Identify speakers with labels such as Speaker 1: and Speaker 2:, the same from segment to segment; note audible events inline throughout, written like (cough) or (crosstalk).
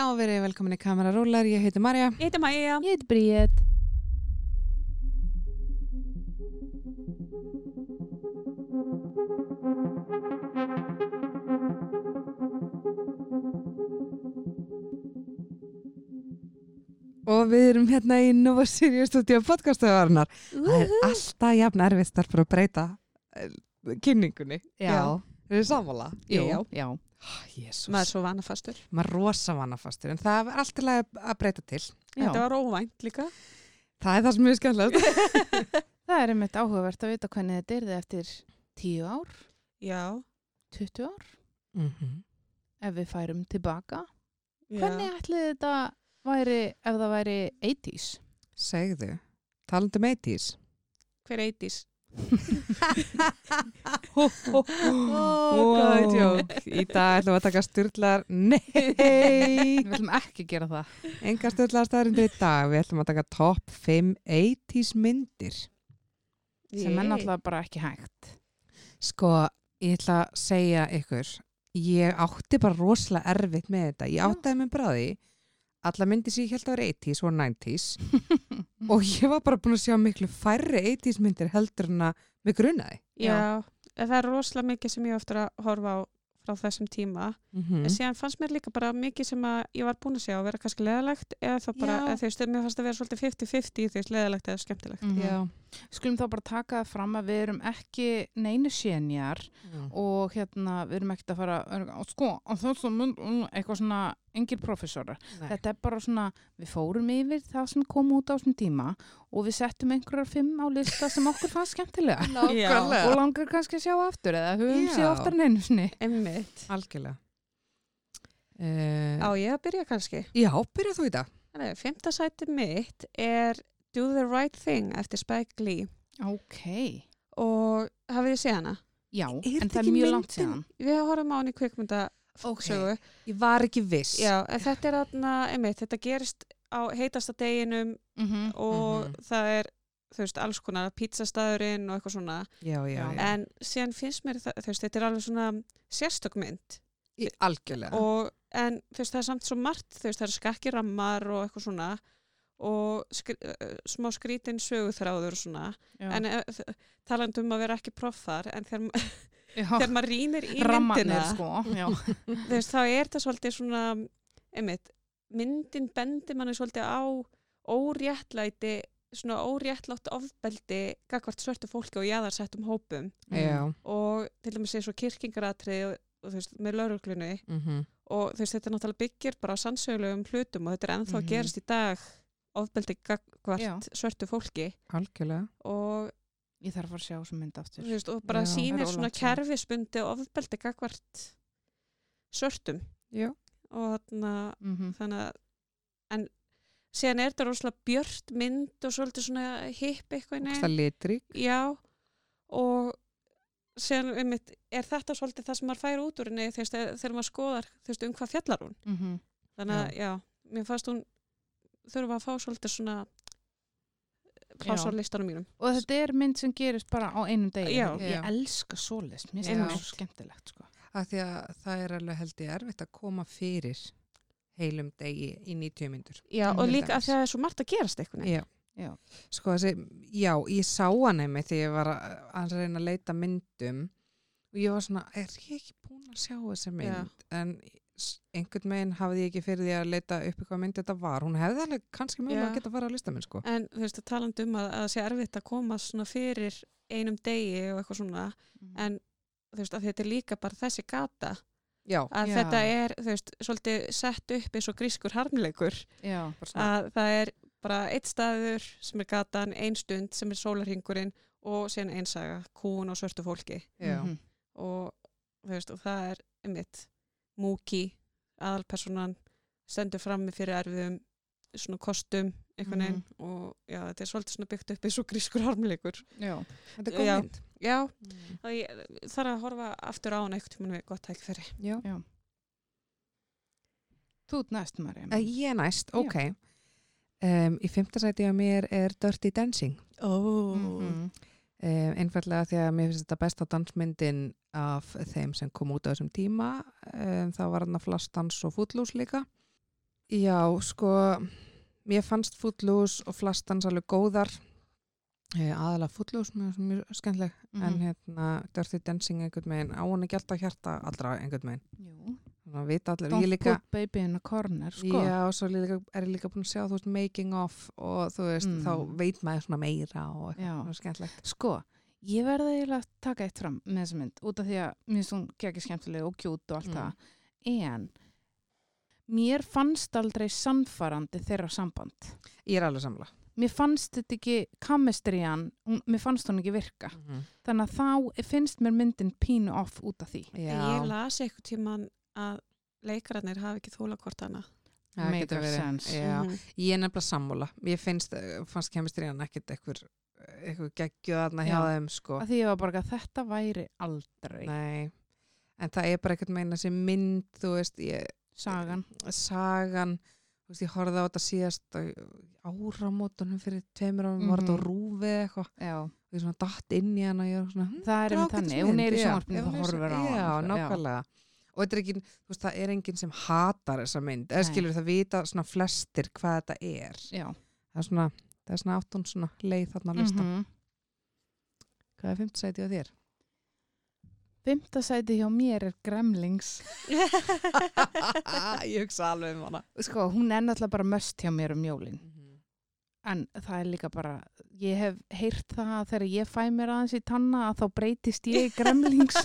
Speaker 1: og verið velkomin í kamerarúlar. Ég heiti Marja.
Speaker 2: Ég heiti Maja.
Speaker 3: Ég heit Bríett.
Speaker 1: Og við erum hérna í Nova Sirius Studio podcastuðarinnar. Það er alltaf jafn erfitt starfur að breyta eh, kynningunni.
Speaker 3: Já.
Speaker 1: Eru þið sammála?
Speaker 2: Jú.
Speaker 3: Já. Já.
Speaker 1: Jésús.
Speaker 2: Maður er svo vanafastur.
Speaker 1: Maður er rosa vannafastur en það er allt til að, að breyta til.
Speaker 3: Já.
Speaker 2: Þetta var óvænt
Speaker 3: (laughs)
Speaker 2: líka.
Speaker 1: Það er það sem er skemmtilegt.
Speaker 3: Það er einmitt áhugavert að vita hvernig þetta er eftir 10 ár,
Speaker 2: Já.
Speaker 3: 20 ár,
Speaker 1: mm -hmm.
Speaker 2: Mhm.
Speaker 3: ef við færum tilbaka.
Speaker 2: Já.
Speaker 3: Hvernig ætli þetta væri, ef það væri 80s?
Speaker 1: Segðu, talandum 80s.
Speaker 2: (laughs) Hver eitís?
Speaker 1: Oh,
Speaker 3: Ó.
Speaker 1: Í dag ætlum við að taka styrlar.
Speaker 2: (laughs)
Speaker 1: Nei!
Speaker 3: Við viljum ekki gera það.
Speaker 1: Engar stöðlaðarstæðarindir í dag, við ætlum að taka top 5 80s myndir.
Speaker 3: Sem er náttúrulega bara ekki hægt.
Speaker 1: Sko, ég ætla að segja ykkur, ég átti bara rosalega erfitt með þetta. Ég
Speaker 3: Já.
Speaker 1: áttaði með bráði, alla myndir sem ég held að vera 80s og 90s (laughs) og ég var bara búin að sjá miklu færri 80s myndir heldur en að mig grunaði.
Speaker 2: Já. En það er rosalega mikið sem ég á eftir að horfa á frá þessum tíma.
Speaker 3: Mm.
Speaker 1: Mhm.
Speaker 2: En síðan fannst mér líka bara mikið sem að ég var búin að sjá að vera kannski leðalegt eða þá bara,
Speaker 3: Já.
Speaker 2: eða þú veist, mér fannst að vera svolítið 50-50 í því leðalegt eða skemmtilegt.
Speaker 3: Mhm.
Speaker 1: Já.
Speaker 3: Skulum þá bara taka það fram að við erum ekki neinu sénjar og hérna við erum ekkert að fara að sko, og það er svo mynd, mm, eitthvað svona engir professorar.
Speaker 1: Nei.
Speaker 3: Þetta er bara svona, við fórum yfir það sem kom út á þessum tíma og við settum einhverjar fimm á lista sem okkur fannst skemmtilega
Speaker 2: Já.
Speaker 3: og langar kannski að sjá aftur eða höfum
Speaker 1: Já.
Speaker 3: séð oftar en einu sinni.
Speaker 2: Einmitt.
Speaker 1: Algjörlega. Uh,
Speaker 2: Á ég að byrja kannski.
Speaker 1: já, byrja þú í dag.
Speaker 2: Þannig, fymta sæti mitt er Do the Right Thing eftir Spike Lee
Speaker 3: Ok,
Speaker 2: og hafið þið séð hana?
Speaker 3: já,
Speaker 1: þetta
Speaker 3: en það er
Speaker 1: ekki
Speaker 3: mjög langt
Speaker 1: myndin?
Speaker 3: síðan.
Speaker 2: Við horfum á hann í kvikmynda sögu.
Speaker 1: Ég var ekki viss.
Speaker 2: Já, en þetta er þarna, einmitt, þetta gerist á heitasta deginum
Speaker 3: Mm -hmm.
Speaker 2: og
Speaker 1: Mhm.
Speaker 2: það er, þú veist, alls konar pítsastæðurinn og eitthvað svona.
Speaker 1: já, já.
Speaker 3: Já.
Speaker 1: já.
Speaker 2: En síðan finnst mér, það, þú veist, þetta er alveg svona sérstökmynd
Speaker 1: Í- Algjörlega.
Speaker 2: og, en þú veist, það er samt svo margt, þú veist, það er skakkirammar og eitthvað svona og skr, eh, smá skrítin söguþráður og svona. En eh, þ- talandi um að vera ekki proffar, en þegar, ma- þegar maður rýnir hérna í myndina,
Speaker 3: Rammarnir sko, já.
Speaker 2: þú veist, þá er það svolítið svona, einmitt, myndin bendir manni svolítið á óréttlæti, svona óréttlátt ofbeldi gagvart svörtu fólki og jæðarsettum hópum
Speaker 3: Mhm.
Speaker 1: Já.
Speaker 2: og til dæmis eins og kirkingaratrið og, og þú veist, með lauruglunni
Speaker 1: Mhm.
Speaker 2: og þú veist, þetta náttúrulega byggir bara á sannsögulegum hlutum og þetta er ennþá
Speaker 1: Mhm.
Speaker 2: að gerast í dag ofbeldi gagvart
Speaker 3: Já.
Speaker 2: svörtu fólki
Speaker 1: Algjörlega.
Speaker 2: og
Speaker 3: Ég þarf að fara að sjá þessum mynd aftur.
Speaker 2: þú veist, og bara
Speaker 1: Já.
Speaker 2: sýnir
Speaker 3: Þetta er
Speaker 2: svona
Speaker 3: ólangt síðan.
Speaker 2: kerfisbundi og ofbeldi gagvart svörtum
Speaker 1: Já.
Speaker 2: og þarna
Speaker 3: Mm
Speaker 2: þannig að en síðan er þetta rosalega björt mynd og svolítið svona hipp eitthvað
Speaker 1: Ógsta litri.
Speaker 2: já og síðan um er þetta svolítið það sem maður fær út úr henni þú veist, þegar þegar maður skoðar þú veist, um hvað fjallar hún
Speaker 3: -hmm.
Speaker 2: þannig að já, mér fannst hún þurfa að fá svolítið svona
Speaker 3: Já.
Speaker 2: plásar listanum mínum
Speaker 3: Og þetta er mynd sem gerist bara á einum degi.
Speaker 2: Já.
Speaker 3: Ég
Speaker 1: Já.
Speaker 3: elska svoleiðst, mér finnst
Speaker 2: Einmitt.
Speaker 3: það svo skemmtilegt sko.
Speaker 1: Af því að það er alveg held ég erfitt að koma fyrir heilum degi í 90 myndur.
Speaker 2: já, og
Speaker 1: Til
Speaker 2: líka
Speaker 1: dæmis.
Speaker 2: að það er svo margt að gerast eitthvað
Speaker 1: Já.
Speaker 3: Já.
Speaker 1: Sko þessi, já, ég sá hann einmitt þegar ég var að að reyna að leita myndum og ég var svona, er ég ekki búin að sjá þessa mynd? En s- einhvern veginn hafði ég ekki fyrir því að leita upp eitthvað mynd þetta var. Hún hefði alveg kannski mögulega
Speaker 2: Já.
Speaker 1: að geta að fara að lista minn, sko.
Speaker 2: en þú veist, talandi um að að það sé erfitt að koma svona fyrir einum degi og eitthvað svona
Speaker 3: En,
Speaker 2: en þú veist, að þetta er líka bara þessi gata
Speaker 1: Já,
Speaker 2: að
Speaker 3: Já.
Speaker 2: þetta er, þú veist, svolítið sett upp eins og grískur harmleikur
Speaker 3: já,
Speaker 1: bara svona.
Speaker 2: að það er bara eitt staður sem er gatan, ein stund sem er sólarhingurinn og síðan einsaga, kún og svörtu fólki
Speaker 1: já.
Speaker 3: Mhm.
Speaker 2: og þú veist, og það er einmitt múki, aðalpersonan stendur frammi fyrir erfiðum svona kostum, einhvern veginn
Speaker 3: Mhm.
Speaker 2: og já, þetta er svolítið svona byggt upp eins og grískur harmleikur.
Speaker 3: já.
Speaker 1: Þetta er góð
Speaker 2: Já. Mm.
Speaker 1: mynd.
Speaker 2: Já, það ég þarf að horfa aftur á hana einhvern tímann við gott tækifæri.
Speaker 1: Já.
Speaker 3: Þú ert næst, Marja.
Speaker 1: Uh, ég er næst, ok. Um, í fymta sæti á mér er Dirty Dancing.
Speaker 2: Oh.
Speaker 3: Mhm.
Speaker 1: Um, einfallega því að mér finnst þetta besta dansmyndin af þeim sem kom út á þessum tíma. Um, það var hann að flastdans og fútlús líka. Já, sko, mér fannst Footloose og Flastans alveg góðar. Eh, Aðalega Footloose, mér er mjög skemmtileg.
Speaker 3: Mhm.
Speaker 1: En hérna, Dirty Dancing einhvern veginn, á hún er gert á hjarta allra einhvern veginn.
Speaker 3: Jú,
Speaker 1: Þannig að vita allir,
Speaker 3: don't
Speaker 1: ég líka...
Speaker 3: put baby in a corner, sko.
Speaker 1: Já, og svo líka, er ég líka búin að sjá, þú veist, making of og þú veist,
Speaker 3: Mm.
Speaker 1: þá veit maður svona meira og eitthvað
Speaker 3: Já.
Speaker 1: svona skemmtilegt.
Speaker 3: Sko, ég verði eiginlega að taka eitt fram með þessa mynd út af því að mér finnst hún geggjur skemmtileg og kjút og allt
Speaker 1: Mm.
Speaker 3: það. En mér fannst aldrei sannfarandi þeirra samband.
Speaker 1: Ég er alveg samla.
Speaker 3: Mér fannst þetta ekki kamistriðan, mér fannst hún ekki virka.
Speaker 1: Mm.
Speaker 3: Þannig að þá finnst mér myndin pínu off út af því.
Speaker 2: Ég las eitthvað tíman að leikararnir hafi ekki þóla hvort hana.
Speaker 1: það
Speaker 3: Make
Speaker 1: getur verið.
Speaker 3: sense.
Speaker 1: Já. Ég er nefnilega sammála. Ég finnst, eh, fannst kemistriðan ekkert eh, eitthvað, eitthvað geggjöðarna hjá
Speaker 3: Já.
Speaker 1: þeim, sko.
Speaker 3: Af því ég var bara að þetta væri aldrei
Speaker 1: Nei. En það er bara eitthvað meina sem mynd, þú veist, ég,
Speaker 3: sagan.
Speaker 1: sagan, þú veist, ég horfði á þetta síðast á- áramótunum fyrir tveimur árum, var þetta á
Speaker 3: Mhm.
Speaker 1: rúfi eða eitthvað.
Speaker 3: Já.
Speaker 1: Ég svona datt inn í hana og ég var svona, hm,
Speaker 3: Það er um
Speaker 1: Ágætis
Speaker 3: þannig, ef hún er í
Speaker 1: mynd, já.
Speaker 3: sjónvarpinu
Speaker 1: Ef
Speaker 3: þá
Speaker 1: hún er í
Speaker 3: horfur á
Speaker 1: sjón-
Speaker 3: hana.
Speaker 1: Já,
Speaker 3: sko.
Speaker 1: nákvæmlega. Og þetta er ekki, þú veist, það er enginn sem hatar þessa mynd. Eða
Speaker 3: Nei.
Speaker 1: skilur það vita svona flestir hvað þetta er.
Speaker 3: Já.
Speaker 1: Það er svona, það er svona áttun svona leið þarna á
Speaker 3: Mm
Speaker 1: listan.
Speaker 3: -hmm.
Speaker 1: Hvað er fimmt sæti á þér?
Speaker 3: Fymta sæti hjá mér er Gremlings.
Speaker 1: (laughs) ég hugsa alveg um hana.
Speaker 3: Sko, hún er náttúrulega bara möst hjá mér um jólin.
Speaker 1: Mhm.
Speaker 3: En það er líka bara, ég hef heyrt það þegar ég fæ mér aðeins í tanna að þá breytist ég í Gremlings.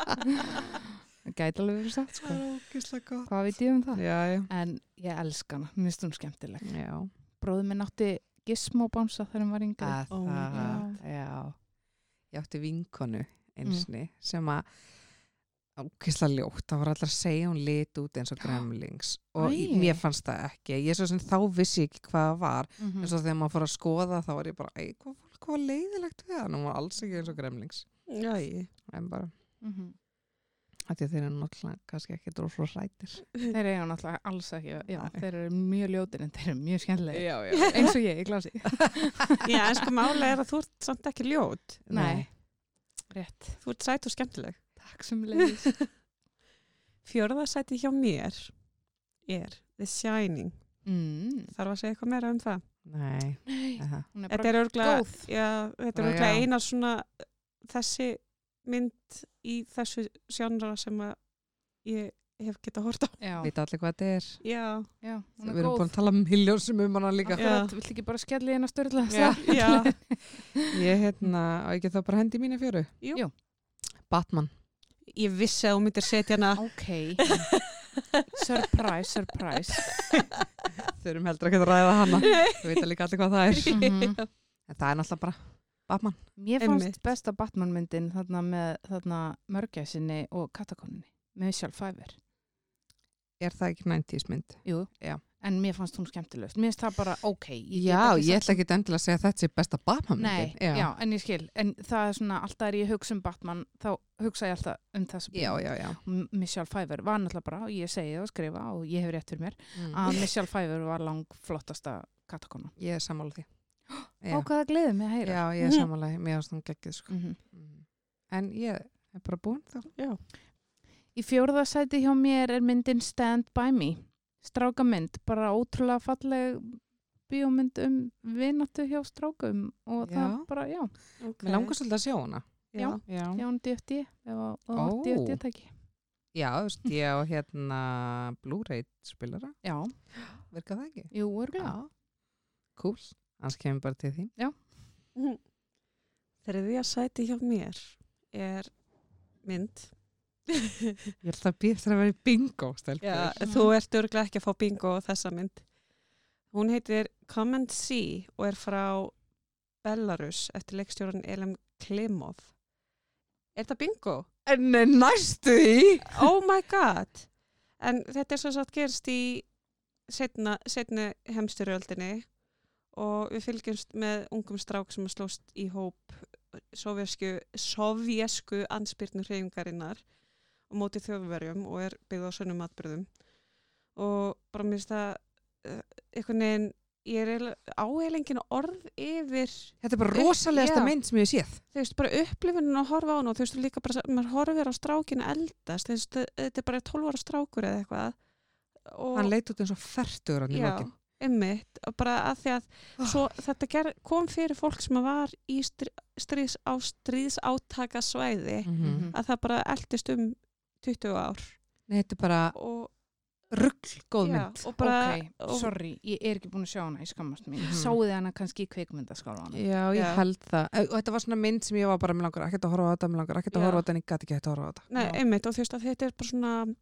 Speaker 3: Það Gæti alveg verið satt, sko.
Speaker 1: ógislega gott.
Speaker 3: Hvað veit ég um það?
Speaker 1: Já, já.
Speaker 3: En ég elska hana, mér finnst hún skemmtileg.
Speaker 1: Já,
Speaker 3: Bróður minn átti gismóbánsa þegar hann var yngri.
Speaker 1: að
Speaker 2: Ó,
Speaker 1: það, já. Ég átti
Speaker 3: Mm.
Speaker 1: vinkonu einsni sem að ógislega ljótt, það voru allar að segja að hún lit út eins og gremlings og
Speaker 3: Æi.
Speaker 1: mér fannst það ekki, ég svo sem þá vissi ég ekki hvað það var
Speaker 3: Mm
Speaker 1: En svo þegar maður fór að skoða þá var ég bara, ei, hvað fólk var leiðilegt við hann, hún var alls ekki eins og gremlings.
Speaker 2: Jæi.
Speaker 1: En bara,
Speaker 3: mhm.
Speaker 1: af því að þeir eru náttúrulega kannski ekki dróð svo hrættir.
Speaker 3: Þeir eru náttúrulega alls ekki, já,
Speaker 1: Nei.
Speaker 3: þeir eru mjög ljótir en þeir eru mjög skemmtilegir.
Speaker 1: Já, já.
Speaker 3: Eins og ég, ég glasi.
Speaker 2: Já, en sko mála er að þú ert samt ekki ljót.
Speaker 1: (laughs) Nei.
Speaker 3: Rétt.
Speaker 2: Þú ert sæt og skemmtileg.
Speaker 3: Takk sem leiðis.
Speaker 2: Fjörðarsæti hjá mér er The Shining.
Speaker 3: Mm.
Speaker 2: Þarf að segja eitthvað meira um það.
Speaker 1: Nei.
Speaker 3: Nei,
Speaker 1: Aha.
Speaker 3: hún er
Speaker 2: Þetta
Speaker 3: bara
Speaker 2: er örglega,
Speaker 3: góð.
Speaker 2: já, þetta er
Speaker 1: Já,
Speaker 2: örglega
Speaker 1: já.
Speaker 2: eina svona þessi mynd í þessu sjónra sem að ég hef geta hort á.
Speaker 3: Já,
Speaker 1: Vita allir hvað þetta er.
Speaker 2: Já,
Speaker 3: já, hún
Speaker 1: Við
Speaker 3: er
Speaker 1: erum
Speaker 3: góð.
Speaker 1: búin að tala miljósum um hana líka.
Speaker 2: Já.
Speaker 3: Akkurat, vilt ekki bara skella í hennar störla? (laughs)
Speaker 2: já, já.
Speaker 1: Ég, hérna, á ekki þá bara hendi í mína fjöru?
Speaker 2: Jú.
Speaker 3: Jú.
Speaker 1: Batman.
Speaker 2: Ég vissi að hún myndir setja (laughs) hana
Speaker 3: Ok.
Speaker 2: (laughs)
Speaker 3: surprise, surprise.
Speaker 1: Þau erum heldur ekki að ræða hana. Þau vita líka allir hvað það er.
Speaker 3: (laughs) Mhm.
Speaker 1: En það er náttúrulega bara Batman.
Speaker 3: Mér fannst
Speaker 2: Einmitt.
Speaker 3: besta Batman-myndin þarna með þarna mörgæsinni og katakoninni. Með sjálf fæver.
Speaker 1: Er það ekki 90s mynd?
Speaker 3: Jú.
Speaker 1: Já.
Speaker 3: En mér fannst hún skemmtilegust. Mér finnst það bara ok. get
Speaker 1: Já, ég
Speaker 3: ekki sagt-
Speaker 1: ætla ekki endilega að segja að þetta sé besta Batman
Speaker 3: Nei,
Speaker 1: myndin.
Speaker 3: já. en ég skil. En það er svona, alltaf er ég hugsa um Batman, þá hugsa ég alltaf um þessa
Speaker 1: Já, já, já.
Speaker 3: M- Michelle Pfeiffer var náttúrulega bara, og ég segi það og skrifa og ég hef rétt fyrir mér,
Speaker 1: Mm.
Speaker 3: að Michelle Pfeiffer var langflottasta katakona.
Speaker 1: Ég er sammála (gasps) því. Já.
Speaker 3: Á hvaða gleðið mig að heyra.
Speaker 1: Já, ég er
Speaker 2: Mhm.
Speaker 1: samanlega, mér ást hún geggið sko.
Speaker 3: Mhm.
Speaker 1: En ég er bara búin þá.
Speaker 3: Í fjórða sæti hjá mér er myndin Stand By Me. Strákamynd, bara ótrúlega falleg bíómynd um vináttu hjá strákum og það
Speaker 1: Já.
Speaker 3: bara, já,
Speaker 2: okay.
Speaker 1: Mér langar svolítið að sjá hana.
Speaker 2: Já.
Speaker 1: Já,
Speaker 3: já, hún DFD, ef að það var
Speaker 1: Ó.
Speaker 3: DFD tæki.
Speaker 1: já þú veist, ég á hérna Blu-ray spilara,
Speaker 3: Já,
Speaker 1: virka það ekki?
Speaker 3: jú, örgulega.
Speaker 1: Cool, hans kemur bara til þín.
Speaker 2: Þriðja sæti hjá mér er mynd.
Speaker 1: Ég ætla að býja eftir að vera í bingo, stelpur.
Speaker 2: (laughs) Já,
Speaker 3: Mhm.
Speaker 2: þú ert örglega ekki að fá bingo á þessa mynd. Hún heitir Come and See og er frá Belarus eftir leikstjóran Elem Klimov. Er þetta bingo?
Speaker 1: En er næstu í?
Speaker 2: Oh my god! En þetta er svo satt gerst í setna, setna hemsturöldinni og við fylgjumst með ungum strák sem slóst í hóp sovjesku, sovjesku anspyrnu hreyfingarinnar og móti þjóðverjum og er byggð á sönnum atbyrðum og bara mér finnst það eh, einhvern veginn ég er áheilengin orð yfir
Speaker 1: Þetta er bara
Speaker 2: Upp-
Speaker 1: rosalegasta
Speaker 2: já.
Speaker 1: mynd sem ég hef séð.
Speaker 2: þú veist, bara upplifunin að horfa á hún og þú veist, líka bara, maður horfir á strákinu eldast, þú veist, þetta er bara 12 ára strákur eða eitthvað og
Speaker 1: hann leit út eins og fertur hann í
Speaker 2: Já,
Speaker 1: lokin
Speaker 2: einmitt, og bara að því að
Speaker 1: Ah.
Speaker 2: svo, þetta ger, kom fyrir fólk sem var í stri, stríðs, á stríðsátaka svæði
Speaker 1: Mhm.
Speaker 2: að það bara eldist um 20 ár
Speaker 1: Nei, þetta er bara
Speaker 2: og,
Speaker 1: ruggl góð
Speaker 2: já,
Speaker 1: mynd
Speaker 2: og bara
Speaker 3: ok,
Speaker 2: og,
Speaker 3: sorry, ég er ekki búin að sjá hana, ég skammast mín.
Speaker 1: Mhm.
Speaker 3: Sáuði hana kannski í kveikmyndaskálanum.
Speaker 1: Já, ég
Speaker 2: Já.
Speaker 1: held það. Eh, Og þetta var svona mynd sem ég var bara, mér langar ekkert að horfa á þetta, mér langar ekkert að
Speaker 2: Já.
Speaker 1: horfa á þetta, en ég gæti ekki ekkert að horfa á þetta.
Speaker 2: nei,
Speaker 3: Já.
Speaker 2: einmitt, og þú veist að þetta er bara svona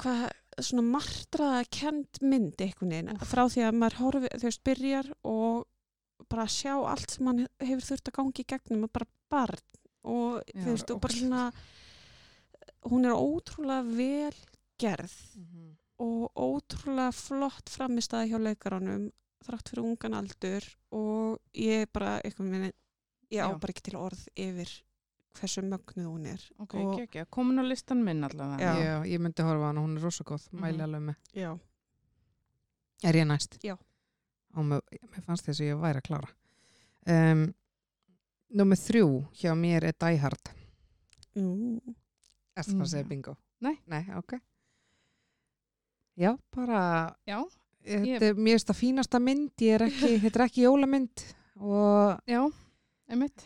Speaker 2: hvað svona martraða kend mynd einhvern veginn, frá því að maður horfi, þú veist, byrjar og bara sjá allt sem mann hefur þurft að gangi í gegnum og bara barn og
Speaker 3: Já,
Speaker 2: þú veist, og bara
Speaker 1: ógeðslegt.
Speaker 2: svona hún er ótrúlega vel gerð
Speaker 3: Mm. Mhm.
Speaker 2: og ótrúlega flott framistæði hjá leikaranum þrátt fyrir ungan aldur og ég bara, eitthvað minni ég á
Speaker 3: Já.
Speaker 2: bara ekki til orð yfir hversu mögnuð hún er
Speaker 3: Ok,
Speaker 2: Og-
Speaker 3: ekki, ekki, komin á listan minn allavega.
Speaker 1: Já.
Speaker 2: Já.
Speaker 1: ég myndi horfa á hana, hún er rosa góð, mæli
Speaker 3: Mhm.
Speaker 1: alveg með.
Speaker 2: Já,
Speaker 1: Er ég næst?
Speaker 2: Já.
Speaker 1: Og mér, mér fannst þess að ég væri að klára. Um, Númer þrjú hjá mér er Die Hard.
Speaker 2: mm.
Speaker 1: Erst það að
Speaker 3: Mm,
Speaker 1: segja
Speaker 3: já.
Speaker 1: bingo?
Speaker 3: Nei.
Speaker 1: Nei, ok. Já, bara,
Speaker 3: Já, Ég-
Speaker 1: þetta er mér finnst það fínasta mynd, ég er ekki, þetta er ekki jólamynd og
Speaker 3: já, einmitt,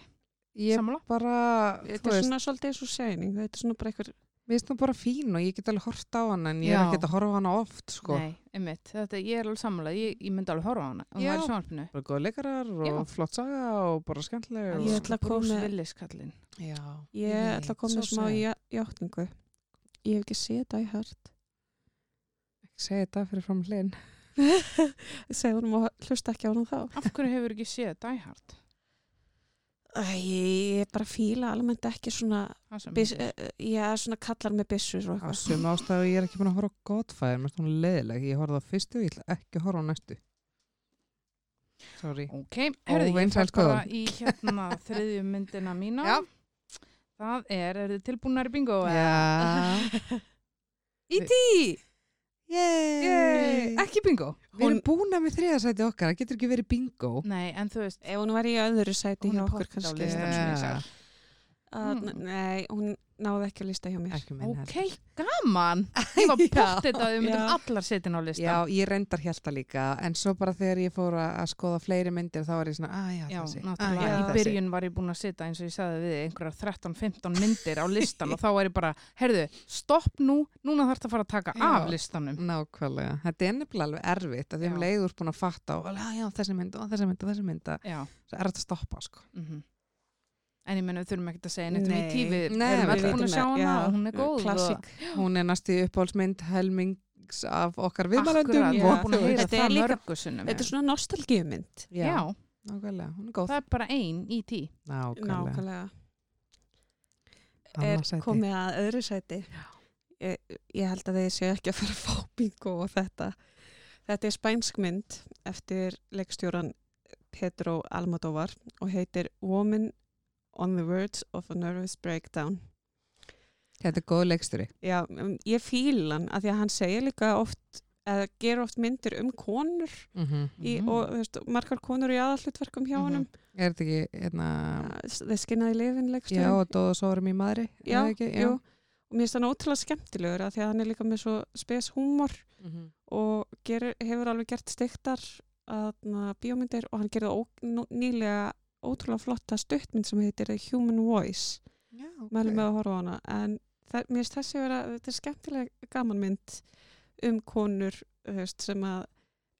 Speaker 1: ég
Speaker 3: sammála.
Speaker 1: bara,
Speaker 2: þetta er svona svolítið eins og sæning þetta er svona bara eitthvað
Speaker 1: Mér finnst hún bara fín og ég get alveg hort á hana en ég er
Speaker 3: Já.
Speaker 1: ekki að horfa á hana oft sko.
Speaker 3: Nei, einmitt, þetta, ég er alveg sammála, ég, ég myndi alveg horfa á hana. Hún
Speaker 1: Já.
Speaker 3: var í sjónarpinu.
Speaker 1: Bara góða leikarar og
Speaker 3: Já.
Speaker 1: flott saga og bara skemmtileg og...
Speaker 2: Ég ætla að koma
Speaker 3: Sko, Bruce
Speaker 2: með-
Speaker 3: Willis kallinn.
Speaker 1: Já.
Speaker 2: ég ætla að koma
Speaker 1: Svo
Speaker 2: með smá
Speaker 1: sæt.
Speaker 2: í játningu ég hef ekki séð það í hart
Speaker 1: Ekki segja þetta fyrir fram hlinn.
Speaker 2: segði honum og hlusta ekki á hann þá
Speaker 3: Af hverju hefur ekki séð Die Hard?
Speaker 2: Æ, ég bara fíla almennt ekki svona
Speaker 3: Hann sem
Speaker 2: bis,
Speaker 3: heitir-
Speaker 2: uh, já, svona kallar með byssur og
Speaker 1: Á
Speaker 2: eitthvað
Speaker 1: sum ástæðu ég er ekki búin að horfa á Godfire, mér finnst hún leðileg. Ég horfði á fyrstu og ég ætla ekki að horfa á næstu. Sorry.
Speaker 3: Ok, herðu, ég
Speaker 1: Óvinsæl
Speaker 3: fær bara
Speaker 1: skoðun.
Speaker 3: í
Speaker 2: (laughs)
Speaker 3: hérna þriðju myndina mína.
Speaker 1: Já.
Speaker 3: Það er, er þið tilbúinari bingo? eða?
Speaker 1: Já.
Speaker 2: (laughs) Íti!
Speaker 1: Yay!
Speaker 3: Ekki bingo.
Speaker 1: Við erum
Speaker 2: Hún-
Speaker 1: búin að með þriðasæti okkar, það getur ekki verið bingo.
Speaker 3: Nei, en þú veist,
Speaker 2: Ef hún var í öðru sæti
Speaker 3: Hún
Speaker 2: hjá
Speaker 3: er
Speaker 2: okkur
Speaker 3: pottþétt á
Speaker 2: kannski
Speaker 3: listanum
Speaker 2: yeah.
Speaker 3: svona í
Speaker 1: Yeah.
Speaker 2: að,
Speaker 3: Mm.
Speaker 2: Nei, hún náði ekki að lista hjá mér
Speaker 1: Ekki minna.
Speaker 3: ok, gaman. Ég
Speaker 2: (laughs)
Speaker 3: var
Speaker 1: Já.
Speaker 3: bóttið að við myndum
Speaker 2: Já.
Speaker 3: allar setin á listan.
Speaker 1: Já, ég reyndar hjálta líka, en svo bara þegar ég fór að að skoða fleiri myndir þá var ég svona, að já,
Speaker 3: Já,
Speaker 1: þessi.
Speaker 3: náttúrulega.
Speaker 2: Ah, já.
Speaker 3: Í byrjun var ég búin að setja eins og ég sagði við þig, einhverjar 13-15 myndir á listan og þá var ég bara, herðu, stopp nú, núna þarf það að fara að taka
Speaker 1: Já.
Speaker 3: af listanum.
Speaker 1: Nákvæmlega, þetta er nefnilega alveg erfitt að því um
Speaker 3: Já.
Speaker 1: leiður búin að fatta og alveg, "Ah, já, þessi mynd og þessi mynd og þessi mynd það
Speaker 3: Já,
Speaker 1: er þetta að stoppa sko.
Speaker 3: mhm. En ég menna við þurfum ekkert að segja neitt um
Speaker 2: Nei.
Speaker 3: E.T. Við
Speaker 1: Nei,
Speaker 3: erum
Speaker 1: við
Speaker 3: öll búin
Speaker 2: vitum
Speaker 3: að sjá
Speaker 2: það,
Speaker 3: hana
Speaker 2: já.
Speaker 3: og hún er góð.
Speaker 2: Klassík.
Speaker 1: Hún er næst í uppáhaldsmynd helmings af okkar viðmælendum
Speaker 3: Akkurat,
Speaker 2: Já.
Speaker 3: ég er búin að heyra
Speaker 2: Þetta er
Speaker 3: það
Speaker 2: líka-
Speaker 3: mörgu sunnum.
Speaker 2: Þetta er svona nostalgíumynd
Speaker 1: Já,
Speaker 3: Já,
Speaker 1: nákvæmlega, hún er góð
Speaker 3: það er bara ein í tí.
Speaker 1: Nákvæmlega,
Speaker 2: Nákvæmlega Er
Speaker 1: Annars sæti.
Speaker 2: komið að öðru sæti ég, ég held að þeir séu ekki að fara að fá bingo og þetta Þetta er spænsk mynd eftir leikstjóran Pedro Almodovar og heitir Woman on the Words of a Nervous Breakdown
Speaker 1: Þetta er góð leiksturi
Speaker 2: Já, um, ég fíl hann að því að hann segir líka oft að gera oft myndir um konur
Speaker 1: mm
Speaker 2: í, og þú veist, margar konur í aðallutverkum hjá
Speaker 3: Mhm.
Speaker 2: honum Ah,
Speaker 1: Er þetta ekki, hérna
Speaker 2: þeir skinnaði lifin
Speaker 1: Já,
Speaker 2: leikstjórin
Speaker 1: og Dóða Sórum í maðri er
Speaker 2: Já,
Speaker 1: það ekki?
Speaker 2: jú. og mér finnst hann ótrúlega skemmtilegur að því að hann er líka með svo spes húmor
Speaker 1: Mhm.
Speaker 2: og gerir, hefur alveg gert stiktar aðna, bíómyndir og hann gerði ó, nú- nýlega ótrúlega flotta stuttmynd sem heitir The Human Voice
Speaker 1: Já, ok.
Speaker 2: mælum með að horfa á hana en það, mér finnst þessi vera, þetta er skemmtilega gamanmynd um konur þú veist, sem að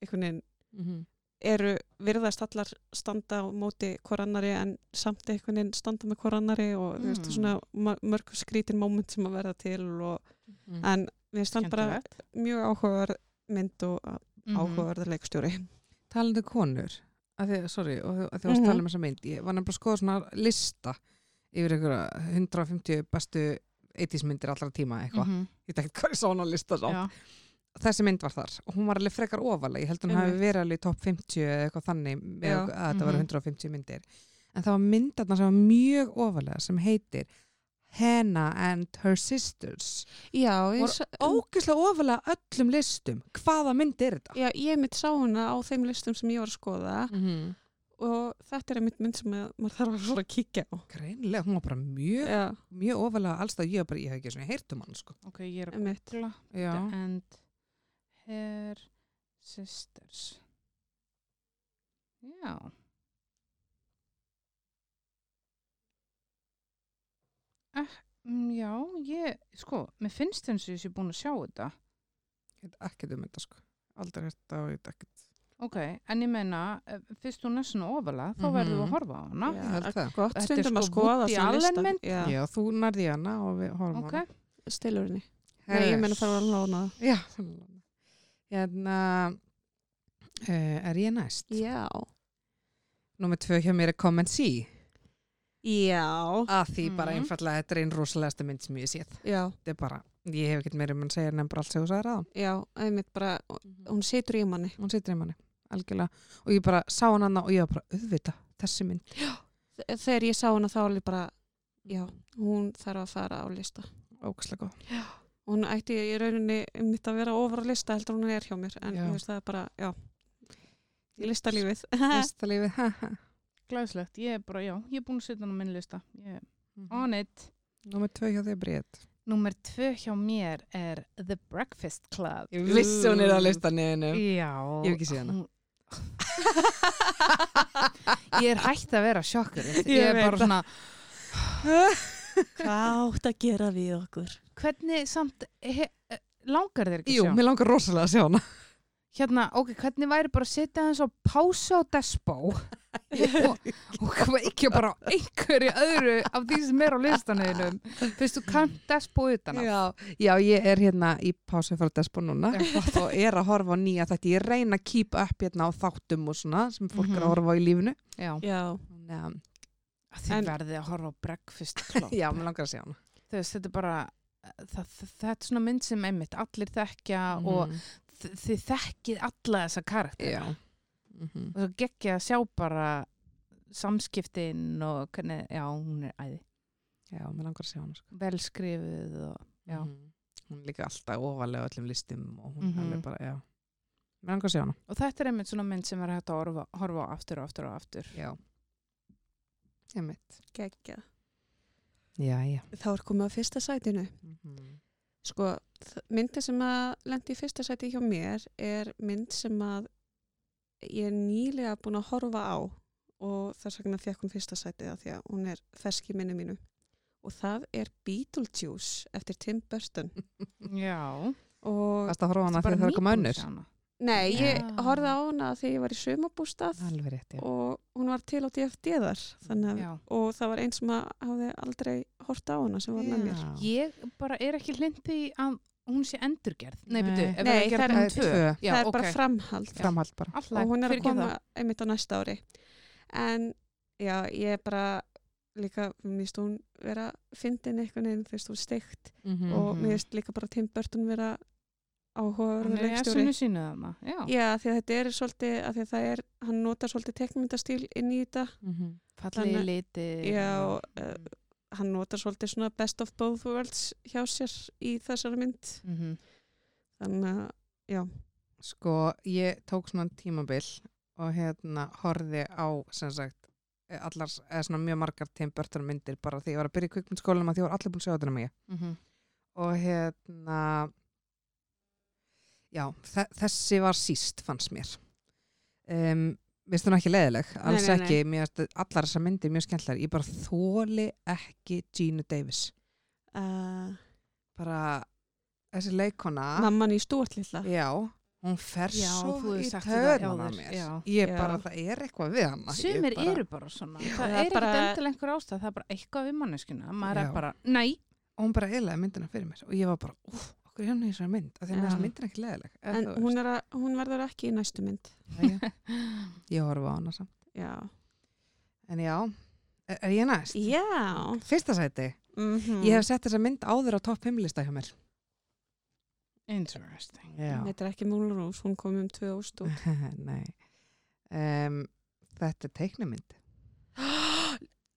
Speaker 2: einhvern veginn
Speaker 1: Mhm.
Speaker 2: eru virðast allar standa á móti hvort annari en samt einhvern veginn standa með hvort annari og mm. veist,
Speaker 3: Mm.
Speaker 2: svona mar- mörg skrítin moment sem að verða til og,
Speaker 1: Mhm.
Speaker 2: en við stand bara
Speaker 3: Mm. Skemmtilegt.
Speaker 2: mjög áhugaverð mynd og mm
Speaker 3: Mhm.
Speaker 2: áhugaverð leikstjóri
Speaker 1: talandi um konur að því, sorry, og að því varst mm
Speaker 2: Mhm.
Speaker 1: -hmm. talað um þessa mynd ég var nefnilega að skoða svona lista yfir einhverja 150 bestu 80s myndir allra tíma eitthvað
Speaker 3: Mhm.
Speaker 1: ég tekkt hvað ég svona lista sá
Speaker 3: Já.
Speaker 1: þessi mynd var þar og hún var alveg frekar ofalega ég held hún hafi
Speaker 2: Einmitt.
Speaker 1: verið alveg í topp 50 eða eitthvað þannig með
Speaker 2: Já.
Speaker 1: að þetta var
Speaker 3: Mhm.
Speaker 1: 150 myndir en það var myndarna sem var mjög ofalega sem heitir Hannah and her sisters
Speaker 2: Já, ég,
Speaker 1: Voru-
Speaker 2: sá-
Speaker 1: ógeðslega ofalega öllum listum hvaða mynd er þetta?
Speaker 2: já, ég mitt sá hana á þeim listum sem ég var að skoða
Speaker 1: Mm -hmm.
Speaker 2: og þetta er einmitt mynd sem að maður þarf að fara að kíkja á
Speaker 1: Greinlega, hún var bara mjög
Speaker 2: Já,
Speaker 1: mjög ofalega allstað, ég, hef bara, ég hef ekki svona heyrt um hann sko.
Speaker 3: Ok, ég er að
Speaker 2: einmitt
Speaker 3: googla.
Speaker 1: Já.
Speaker 3: and Sisters. Já. Eh, mm, já, ég, sko, mér finnst eins og ég sé búin að sjá þetta.
Speaker 1: Ég veit ekkert um þetta sko. Aldrei þetta og ég veit ekkert.
Speaker 3: Ok, en ég meina, eh, fyrst hún er svona ofalega, þá
Speaker 1: Mhm.
Speaker 3: verður þú að horfa á hana.
Speaker 1: ég held það.
Speaker 2: Gott
Speaker 3: Þetta er
Speaker 2: stundum að
Speaker 3: sko
Speaker 2: skoða
Speaker 3: Woody
Speaker 2: svona
Speaker 3: Allen
Speaker 2: lista.
Speaker 3: mynd.
Speaker 2: Já,
Speaker 1: Já, þú nærði hana og við horfum
Speaker 3: Ok,
Speaker 1: hana.
Speaker 2: stilur henni. Nei,
Speaker 1: Herðu.
Speaker 2: ég meina það var alveg lóna.
Speaker 1: Já, þannig að- hérna, uh, er ég næst?
Speaker 2: Já.
Speaker 1: Númer tvö hjá mér er Come and See.
Speaker 2: Já.
Speaker 1: Að því bara
Speaker 2: Mm.
Speaker 3: Mhm.
Speaker 1: einfallega, þetta er einn rosalegasta mynd sem ég séð.
Speaker 2: Já,
Speaker 1: Þetta er bara, ég hef ekkert meira um að segja nefn bara allt sem þú sagði ráðan.
Speaker 2: já, einmitt bara, hún situr í manni.
Speaker 1: Hún situr í manni, algjörlega. Og ég bara sá hann hana og ég var bara, auðvita, þessi mynd.
Speaker 2: Þe- Þegar ég sá hana þá alveg bara, já, hún þarf að fara á lista.
Speaker 1: Ógæslega góð.
Speaker 2: Hún ætti í rauninni mitt að vera ofar á lista heldur en hún er hjá mér, en
Speaker 1: Já.
Speaker 2: ég veist það er bara, já, í listalífið.
Speaker 1: Listalífið, ha ha.
Speaker 3: glæslegt. Ég er bara, já, ég er búin að setja hann á minn lista. Ég,
Speaker 1: Mhm.
Speaker 3: on it.
Speaker 1: Númer tvö hjá þig, Bríett.
Speaker 3: Númer tvö hjá mér er The Breakfast Club.
Speaker 1: Ég vissi hún er á listaninu.
Speaker 3: Já.
Speaker 1: Ég hef ekki séð hana.
Speaker 3: hún- (laughs) Ég er hægt að vera sjokkur. Ég,
Speaker 2: Ég
Speaker 3: er
Speaker 2: veit
Speaker 3: bara
Speaker 2: það.
Speaker 3: svona,
Speaker 2: Hvað átt að gera við okkur?
Speaker 3: hvernig samt, he, eh, langar þér ekki
Speaker 1: Jú,
Speaker 3: að sjá?
Speaker 1: mér langar rosalega að sjá hana.
Speaker 3: Hérna, ok, hvernig væri bara að setja hans á pása á Despo
Speaker 1: (laughs)
Speaker 3: og, og koma ekki bara á einhverju öðru af því sem er á listanöðinum. Fyrst þú kannt Despo utan að.
Speaker 1: Já, já, ég er hérna í pásu frá Despo núna og er að horfa á nýja þetta. Ég reyna að keep up hérna á þáttum og svona sem fólk er að
Speaker 3: Mhm.
Speaker 1: horfa á í lífinu.
Speaker 3: Já.
Speaker 2: Já,
Speaker 1: Þannig að-
Speaker 3: Þið
Speaker 2: En-
Speaker 3: verðið að horfa á Breakfast Club.
Speaker 1: Já, mér langar að sjá hana.
Speaker 3: Þú veist, þetta er bara, það, það, þetta er svona mynd sem einmitt allir þekkja og
Speaker 1: Mhm.
Speaker 3: þi- þið þekkið alla þessa karakter.
Speaker 1: Já. Mhm.
Speaker 3: Og svo geggja að sjá bara samskiptin og hvernig, já, hún er æði.
Speaker 1: Já, mér langar að sjá hana. Sko.
Speaker 3: Velskrifuð og, Já.
Speaker 1: Mhm. Hún er líka alltaf ofalega öllum listum og hún mm
Speaker 3: Mhm.
Speaker 1: alveg bara, já. Mér langar að sjá hana.
Speaker 3: og þetta er einmitt svona mynd sem er hægt að horfa, horfa á aftur og aftur og aftur.
Speaker 1: Já. Ég mitt.
Speaker 2: geggja.
Speaker 1: Já, já.
Speaker 2: Þá er komið á fyrsta sætinu.
Speaker 1: Mhm.
Speaker 2: Sko, þ- myndin sem að lendi í fyrsta sæti hjá mér er mynd sem að ég er nýlega búin að horfa á og þess vegna fekk hún fyrsta sætið af því að hún er fersk í minni mínu. Og það er Beetlejuice eftir Tim (laughs) Burton.
Speaker 3: Já.
Speaker 2: Og
Speaker 1: Fast að horfa á hana
Speaker 3: Bara
Speaker 1: þegar það er koma
Speaker 3: nýbúin að
Speaker 1: önnur.
Speaker 3: sjá hana.
Speaker 2: nei, ég
Speaker 3: Já.
Speaker 2: horfði á hana þegar ég var í sumabústað
Speaker 1: Alveg rétt, já.
Speaker 2: og hún var til á DFD þar. Þannig að,
Speaker 3: Já.
Speaker 2: og það var einn sem að hafði aldrei hort á hana sem var með mér.
Speaker 1: Já.
Speaker 3: Ég bara er ekki hlind því að hún sé endurgerð.
Speaker 1: Nei.
Speaker 3: Nei, byrju, ef
Speaker 2: Nei,
Speaker 3: við að gera
Speaker 2: það er um
Speaker 3: hún
Speaker 1: tvö.
Speaker 3: Já,
Speaker 2: það er
Speaker 3: ok.
Speaker 2: bara framhald.
Speaker 1: Framhald bara.
Speaker 3: Alla,
Speaker 2: og hún er að
Speaker 3: fyrirgefðu.
Speaker 2: koma einmitt á næsta ári en já, ég er bara líka, mér finnst hún vera fyndin einhvern veginn, þú veist, hún steikt og
Speaker 1: Mhm.
Speaker 2: mér finnst líka bara Tim Burton vera
Speaker 3: Hún
Speaker 2: áhugaverður
Speaker 3: er í
Speaker 2: leikstjóri
Speaker 3: essinu sínu þarna. Já.
Speaker 2: já, af því að þetta er svolítið, af því að það er hann notar svolítið teknmyndastíl inn í þetta
Speaker 1: Mhm.
Speaker 3: Fallegi
Speaker 2: Þannig-
Speaker 3: liti.
Speaker 2: já, og, uh, hann notar svolítið svona best of both worlds hjá sér í þessari mynd
Speaker 3: Mhm.
Speaker 2: þannig að,
Speaker 1: Sko, ég tók svona tímabil og hérna horfði á sem sagt allar, eða svona mjög margar Tim Burton myndir bara því ég var að byrja í kvikmyndskólanum að því ég var allir búin að sjá þetta nema ég
Speaker 3: Mhm.
Speaker 1: og hérna já, þe þessi var síst fannst mér um, Mér finnst hún ekki leiðileg, alls
Speaker 2: nei, nei.
Speaker 1: ekki, mér finnst allar þessar myndir mjög skemmtilegar, ég bara þóli ekki Gina Davis,
Speaker 2: uh,
Speaker 3: Ah.
Speaker 1: bara þessi leikona,
Speaker 2: mamman í stúartlilla
Speaker 1: Já, hún fer
Speaker 3: Já, þú
Speaker 1: svo
Speaker 3: hefur
Speaker 1: í
Speaker 3: sagt þetta
Speaker 1: töðan á
Speaker 3: áður,
Speaker 1: mér.
Speaker 3: já.
Speaker 1: Ég
Speaker 2: Já.
Speaker 1: bara, það er eitthvað við hana. Ég
Speaker 3: Sumir
Speaker 1: bara,
Speaker 3: eru bara svona. það
Speaker 2: það
Speaker 3: er
Speaker 2: er
Speaker 3: ekkert
Speaker 2: bara-
Speaker 3: endilega einhver ástæð. Það er bara eitthvað við manneskuna. Maður
Speaker 1: Já.
Speaker 3: er bara, nei.
Speaker 1: Og hún bara eðlaði myndina fyrir mér og ég var bara, úf, okkur er hann í þessari mynd. Af því að mér
Speaker 2: Já.
Speaker 1: þessar myndir ekki leðileg.
Speaker 2: en hún, er að, hún verður ekki í næstu mynd
Speaker 1: Já,
Speaker 3: (laughs)
Speaker 1: ég horfa á hana samt.
Speaker 2: já,
Speaker 1: En já, er, er ég næst?
Speaker 2: já.
Speaker 1: Fyrsta sæti.
Speaker 2: Mm
Speaker 1: Ég hef sett þessa mynd áður á topp 5 lista hjá mér.
Speaker 3: Interesting.
Speaker 1: Já.
Speaker 2: Þetta er ekki Múlrós, hún kom um 2000 og...
Speaker 1: (laughs) Nei. Um, þetta er teiknumynd.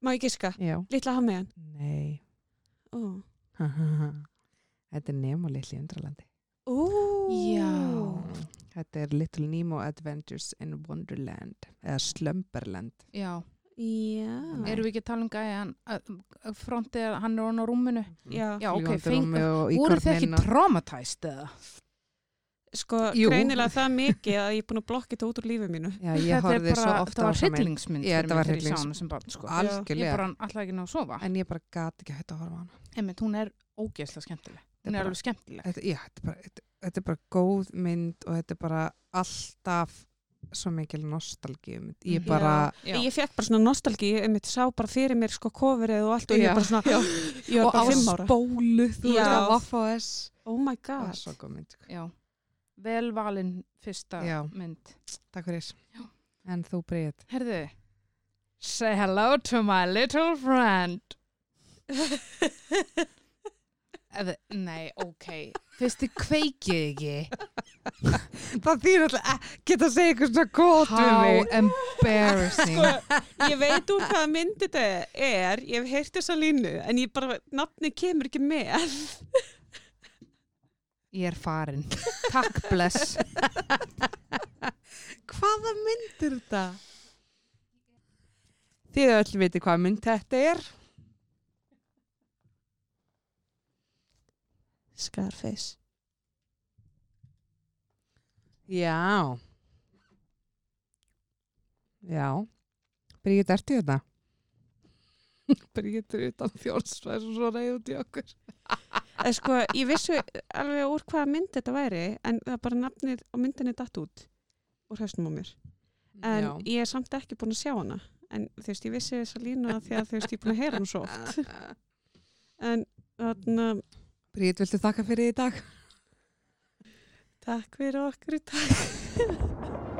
Speaker 2: Má ég giska?
Speaker 1: Já.
Speaker 2: Lilla hamiðan
Speaker 1: Nei. (laughs)
Speaker 2: Ó,
Speaker 1: þetta er Nemo litli í undralandi. Mm.
Speaker 3: Já.
Speaker 1: Þetta er Little Nemo Adventures in Wonderland eða Slumberland.
Speaker 3: Já.
Speaker 2: Já
Speaker 3: Erum við ekki að tala um gæjan? Frontið, að hann er hann á rúminu.
Speaker 2: Já,
Speaker 3: Já, ok,
Speaker 1: Fljúgandi
Speaker 3: feng-
Speaker 1: rúmi og
Speaker 3: Voru þið
Speaker 1: íkorninn
Speaker 3: ekki
Speaker 1: og-
Speaker 3: traumatæst eða?
Speaker 2: sko,
Speaker 1: Jú.
Speaker 2: greinilega það mikið að ég er búin að blokka þetta út úr lífið mínu.
Speaker 1: Já, ég
Speaker 3: Þetta er
Speaker 1: horfði svo
Speaker 3: bara-
Speaker 1: oft
Speaker 3: þetta
Speaker 1: á
Speaker 3: var
Speaker 1: hana minn.
Speaker 3: hryllingsmynd
Speaker 1: Já,
Speaker 3: fyrir
Speaker 1: þetta
Speaker 3: mig
Speaker 1: var
Speaker 3: þegar ég sá
Speaker 1: hryllingsmynd.
Speaker 3: hana sem barn sko.
Speaker 1: Sko,
Speaker 3: Ég
Speaker 1: algjörlega.
Speaker 3: bara alltaf ekki ná að sofa.
Speaker 1: En ég bara gat ekki að hætta að horfa á hana.
Speaker 3: Einmitt, hún er ógeðslega skemmtileg. Hún er
Speaker 1: bara-
Speaker 3: alveg skemmtileg.
Speaker 1: Þetta, já, þetta, er bara, þetta, þetta er bara góð mynd og þetta er bara alltaf svo mikil nostalgíum. Ég
Speaker 3: Mhm.
Speaker 1: bara,
Speaker 3: Já.
Speaker 2: Ég fekk bara svona nostalgi, ég mitt sá bara fyrir mér sko kofrið og allt og ég
Speaker 1: Já.
Speaker 2: bara svona, ég var
Speaker 1: og á
Speaker 2: bara fimm ára.
Speaker 1: spólu, þú
Speaker 2: Já.
Speaker 1: veist, á Vaffa S.
Speaker 2: Oh my
Speaker 1: Það
Speaker 2: god.
Speaker 1: er svo góð mynd. sko.
Speaker 3: Já. Vel valin fyrsta
Speaker 1: Já.
Speaker 3: mynd.
Speaker 1: Takk fyrir.
Speaker 3: Já.
Speaker 1: En þú breyð.
Speaker 3: Herðu, say hello to my little friend. Eða, nei, ok. Fyrst þið kveikið ekki.
Speaker 1: Það þýr alltaf ekkert að segja eitthvað svona gott við
Speaker 3: How
Speaker 1: mig.
Speaker 3: embarrassing.
Speaker 2: Ég veit úr hvaða mynd þetta er, ég hef heyrt þessa línu, en ég bara, nafni kemur ekki með.
Speaker 3: Ég er farin. Takk bless.
Speaker 1: Hvaða mynd er þetta? Þið öll viti hvaða mynd þetta er.
Speaker 2: Scarface.
Speaker 1: Já. Já. Bríðið ertu hérna? (laughs) þetta? Bríðið er utan fjórsvæðs og svo reyði út í okkur.
Speaker 2: Eh, Sko, ég vissu alveg úr hvaða mynd þetta væri, en það bara nafnið og myndinni datt út úr hausnum á mér. En
Speaker 1: Mm, Já.
Speaker 2: ég er samt ekki búin að sjá hana. En þú veist, ég vissi þessa línu að því að þú veist, ég er búin að heyra hana svo oft. En þarna,
Speaker 1: Bríðið, viltu þakka fyrir í dag?
Speaker 2: takk fyrir okkur í dag.